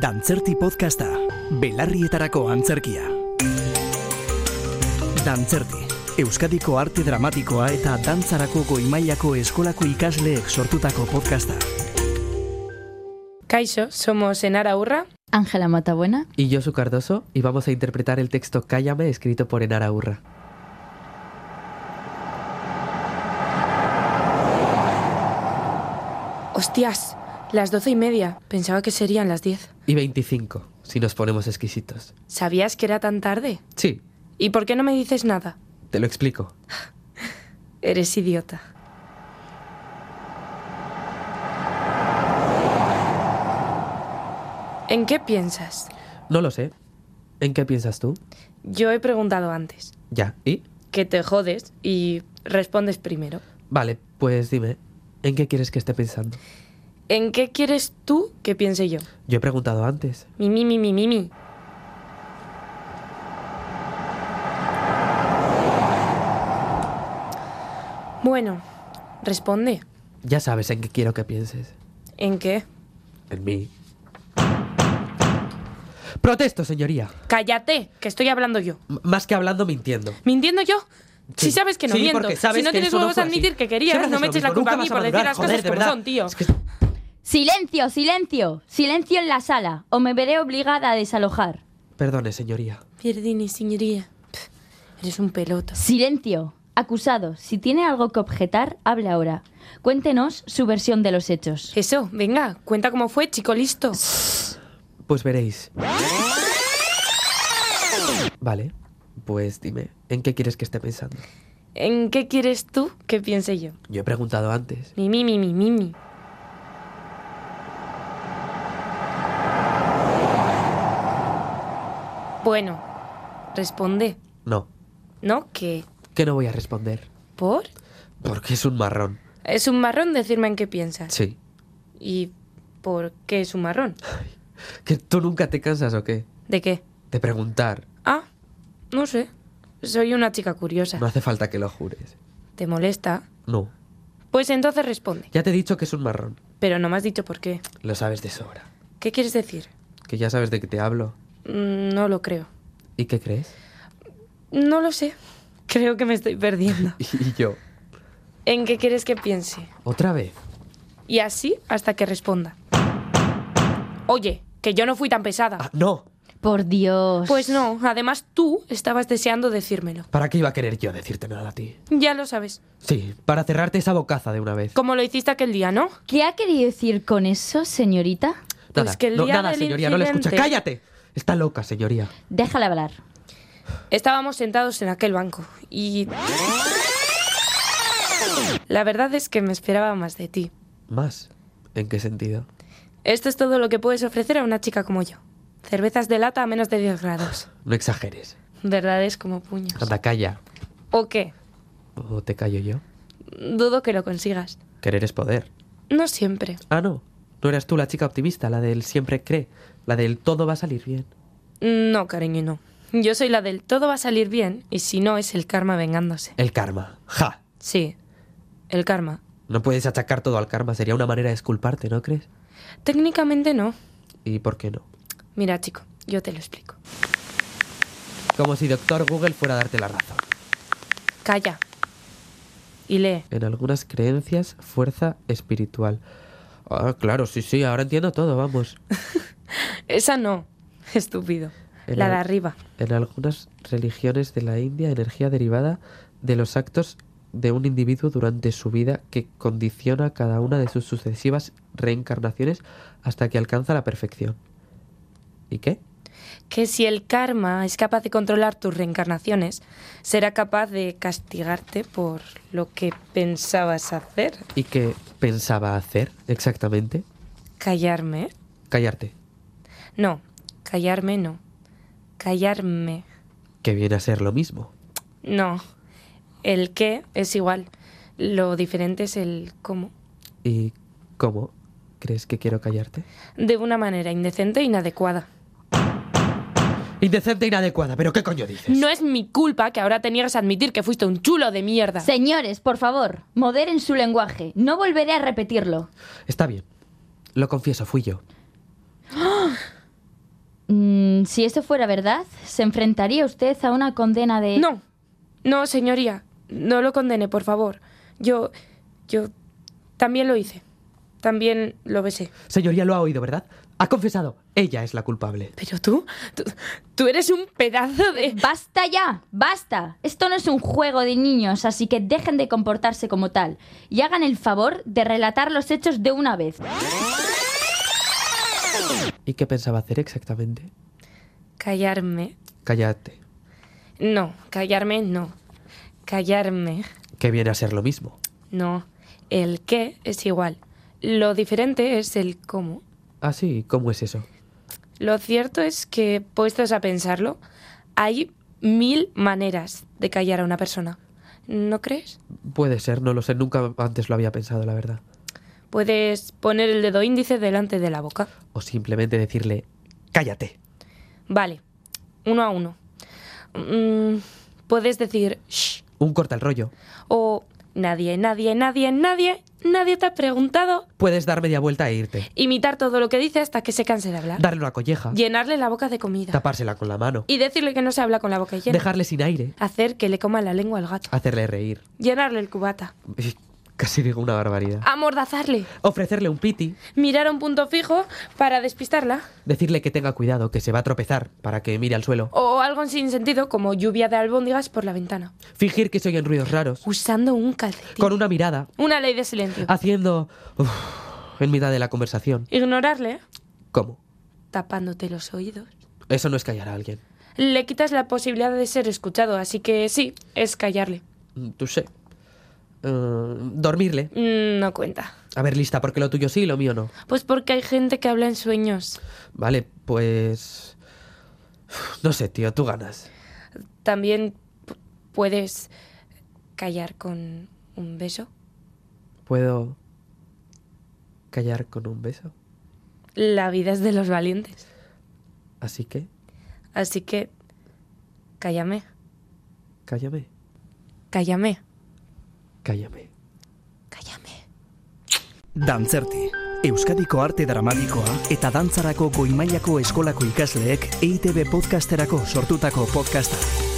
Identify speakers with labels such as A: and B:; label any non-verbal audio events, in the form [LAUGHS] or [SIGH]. A: Dantzerti podcasta, belarrietarako antzerkia. Dantzerti, Euskadiko arte dramatikoa eta dantzarako goimailako eskolako ikasleek sortutako podcasta.
B: Kaixo, somos Enara Urra.
C: Ángela Matabuena,
D: y yo su Cardoso y vamos a interpretar el texto Cállame escrito por Enara Urra.
B: Hostias, las doce y media. Pensaba que serían las diez.
D: Y 25, si nos ponemos exquisitos.
B: ¿Sabías que era tan tarde?
D: Sí,
B: ¿Y por qué no me dices nada?
D: te lo explico.
B: Eres idiota. ¿En qué piensas?
D: No lo sé. ¿En qué piensas tú?
B: Yo he preguntado antes.
D: Ya, ¿y?
B: Que te jodes y respondes primero.
D: Vale, pues dime, ¿en qué quieres que esté pensando?
B: ¿En qué quieres tú que piense yo?
D: Yo he preguntado antes.
B: Mi, mi, mi, mi, mi, mi. Bueno, responde.
D: Ya sabes en qué quiero que pienses.
B: ¿En qué?
D: En mí. Protesto, señoría.
B: Cállate, que estoy hablando yo.
D: M- más que hablando, mintiendo.
B: ¿Mintiendo yo?
D: Sí.
B: Si sabes que no
D: Sí,
B: miento,
D: porque sabes
B: si no
D: que
B: tienes
D: eso
B: huevos
D: fue
B: a admitir
D: así.
B: que querías,
D: Siempre
B: no me
D: haces
B: eches
D: lo
B: la
D: mismo,
B: culpa a
D: nunca
B: mí
D: vas
B: por decir
D: madurar,
B: las
D: joder,
B: cosas
D: de
B: como
D: verdad.
B: son, tío.
D: Es que-
C: silencio, silencio, silencio en la sala, o me veré obligada a desalojar.
D: Perdone, señoría.
B: Pierdini, señoría. Pff, Eres un pelota.
C: Silencio, acusado, si tiene algo que objetar, hable ahora. Cuéntenos su versión de los hechos.
B: Eso, venga, cuenta cómo fue, chico listo.
D: Pues veréis. Vale, pues dime, ¿en qué quieres que esté pensando?
B: ¿En qué quieres tú que piense yo?
D: Yo he preguntado antes.
B: Mi, mi, mi, mi, mi, mi. Bueno, responde.
D: No,
B: ¿No? ¿Qué?
D: que no voy a responder.
B: ¿Por?
D: Porque es un marrón.
B: Es un marrón decirme en qué piensas.
D: Sí.
B: ¿Y por qué es un marrón?
D: ¿Que tú nunca te cansas o qué?
B: ¿De qué?
D: De preguntar.
B: Ah, no sé. Soy una chica curiosa.
D: No hace falta que lo jures.
B: ¿Te molesta?
D: No.
B: Pues entonces responde.
D: Ya te he dicho que es un marrón.
B: Pero no me has dicho por qué.
D: Lo sabes de sobra.
B: ¿Qué quieres decir?
D: Que ya sabes de qué te hablo.
B: Mm, No lo creo.
D: ¿Y qué crees? [LAUGHS]
B: No lo sé. [LAUGHS] Creo que me estoy
D: [LAUGHS]
B: perdiendo.
D: Y yo.
B: ¿En qué quieres que piense?
D: ¿Otra vez?
B: Y así hasta que responda. Oye, que yo no fui tan pesada.
D: Ah, no.
C: Por Dios.
B: Pues no, además tú estabas deseando decírmelo.
D: ¿Para qué iba a querer yo decirte nada a ti?
B: Ya lo sabes.
D: Sí, para cerrarte esa bocaza de una vez.
B: Como lo hiciste aquel día, ¿no?
C: ¿Qué ha querido decir con eso, señorita?
B: pues
D: nada,
B: que el
D: no,
B: día
D: nada,
B: del
D: señoría, no le escucha.
B: incidente-
D: ¡Cállate! Está loca, señoría.
C: Déjala hablar.
B: Estábamos sentados en aquel banco y... La verdad es que me esperaba más de ti.
D: ¿Más? ¿En qué sentido?
B: Esto es todo lo que puedes ofrecer a una chica como yo. Cervezas de lata a menos de 10 grados.
D: No exageres.
B: Verdades como puños.
D: Anda, calla.
B: ¿O qué?
D: ¿O te callo yo?
B: Dudo que lo consigas.
D: Querer es poder.
B: No siempre.
D: Ah, no. No eras tú la chica optimista, la del siempre cree, la del todo va a salir bien.
B: No, cariño, no. Yo soy la del todo va a salir bien y si no es el karma vengándose.
D: El karma. ¡Ja!
B: Sí, el karma.
D: No puedes achacar todo al karma, sería una manera de esculparte, ¿no crees?
B: Técnicamente no.
D: ¿Y por qué no?
B: Mira, chico, yo te lo explico.
D: Como si Doctor Google fuera a darte la razón.
B: Calla. Y lee.
D: En algunas creencias, fuerza espiritual. Ah, claro, sí, sí, ahora entiendo todo, vamos.
B: Esa no. [LAUGHS] Estúpido.
D: En
B: La
D: al-
B: de arriba.
D: En algunas religiones de la India, energía derivada de los actos de un individuo durante su vida que condiciona cada una de sus sucesivas reencarnaciones hasta que alcanza la perfección. ¿Y qué?
B: Que si el karma es capaz de controlar tus reencarnaciones, será capaz de castigarte por lo que pensabas hacer.
D: ¿Y qué pensaba hacer exactamente?
B: ¿Callarme?
D: Callarte,
B: No, callarme no. Callarme.
D: que viene a ser lo mismo.
B: No. El qué es igual. Lo diferente es el cómo.
D: ¿Y cómo? ¿Crees que quiero callarte?
B: De una manera indecente e inadecuada.
D: Indecente e inadecuada, pero ¿qué coño dices?
B: No es mi culpa que ahora te niegues a admitir que fuiste un chulo de mierda.
C: Señores, por favor, moderen su lenguaje. No volveré a repetirlo.
D: Está bien. Lo confieso, fui yo.
C: Mm, si esto fuera verdad, ¿se enfrentaría usted a una condena de...
B: No, no, señoría, no lo condene, por favor. Yo, yo también lo hice, también lo besé.
D: Señoría lo ha oído, ¿verdad? Ha confesado. Ella es la culpable.
B: Pero tú, tú, tú eres un pedazo de...
C: ¡Basta ya! ¡Basta! Esto no es un juego de niños, así que dejen de comportarse como tal y hagan el favor de relatar los hechos de una vez.
D: ¿Y qué pensaba hacer exactamente?
B: Callarme.
D: Cállate.
B: No, callarme no. Callarme.
D: Que viene a ser lo mismo.
B: No, el qué es igual. Lo diferente es el cómo.
D: Ah, sí, ¿cómo es eso?
B: Lo cierto es que, puestos a pensarlo, hay mil maneras de callar a una persona. ¿No crees?
D: Puede ser, no lo sé, nunca antes lo había pensado, la verdad.
B: Puedes poner el dedo índice delante de la boca.
D: O simplemente decirle, cállate.
B: Vale, uno a uno. Mm, puedes decir shh
D: Un corta el rollo.
B: o nadie, nadie, nadie, nadie, nadie te ha preguntado.
D: Puedes dar media vuelta e irte.
B: Imitar todo lo que dice hasta que se canse de hablar.
D: Darle una colleja.
B: Llenarle la boca de comida.
D: Tapársela con la mano.
B: Y decirle que no se habla con la boca llena.
D: Dejarle sin aire.
B: Hacer que le coma la lengua al gato.
D: Hacerle reír.
B: Llenarle el cubata.
D: Casi digo una barbaridad.
B: Amordazarle.
D: Ofrecerle un piti.
B: Mirar a un punto fijo para despistarla.
D: Decirle que tenga cuidado, que se va a tropezar, para que mire al suelo.
B: O algo sin sentido como lluvia de albóndigas por la ventana.
D: Fingir que se oyen ruidos raros.
B: Usando un calcetín.
D: Con una mirada.
B: Una ley de silencio.
D: Haciendo... uf, en mitad de la conversación.
B: Ignorarle
D: ¿Cómo?
B: tapándote los oídos.
D: Eso no es callar a alguien.
B: Le quitas la posibilidad de ser escuchado, así que sí, es callarle.
D: Mm, Tú sé. Eh, dormirle.
B: Mm, No cuenta.
D: A ver, lista, porque lo tuyo sí y lo mío no.
B: Pues porque hay gente que habla en sueños.
D: Vale, pues... No sé, tío, tú ganas.
B: También p- puedes callar con un beso.
D: ¿Puedo callar con un beso?
B: La vida es de los valientes.
D: Así que,
B: Así que, cállame,
D: cállame,
B: cállame,
D: cállame.
B: cállame.
A: Dantzerti, Euskadiko arte dramatikoa eta E dantzarako goimailako eskolako ikasleek EITB podcasterako sortutako podcasta.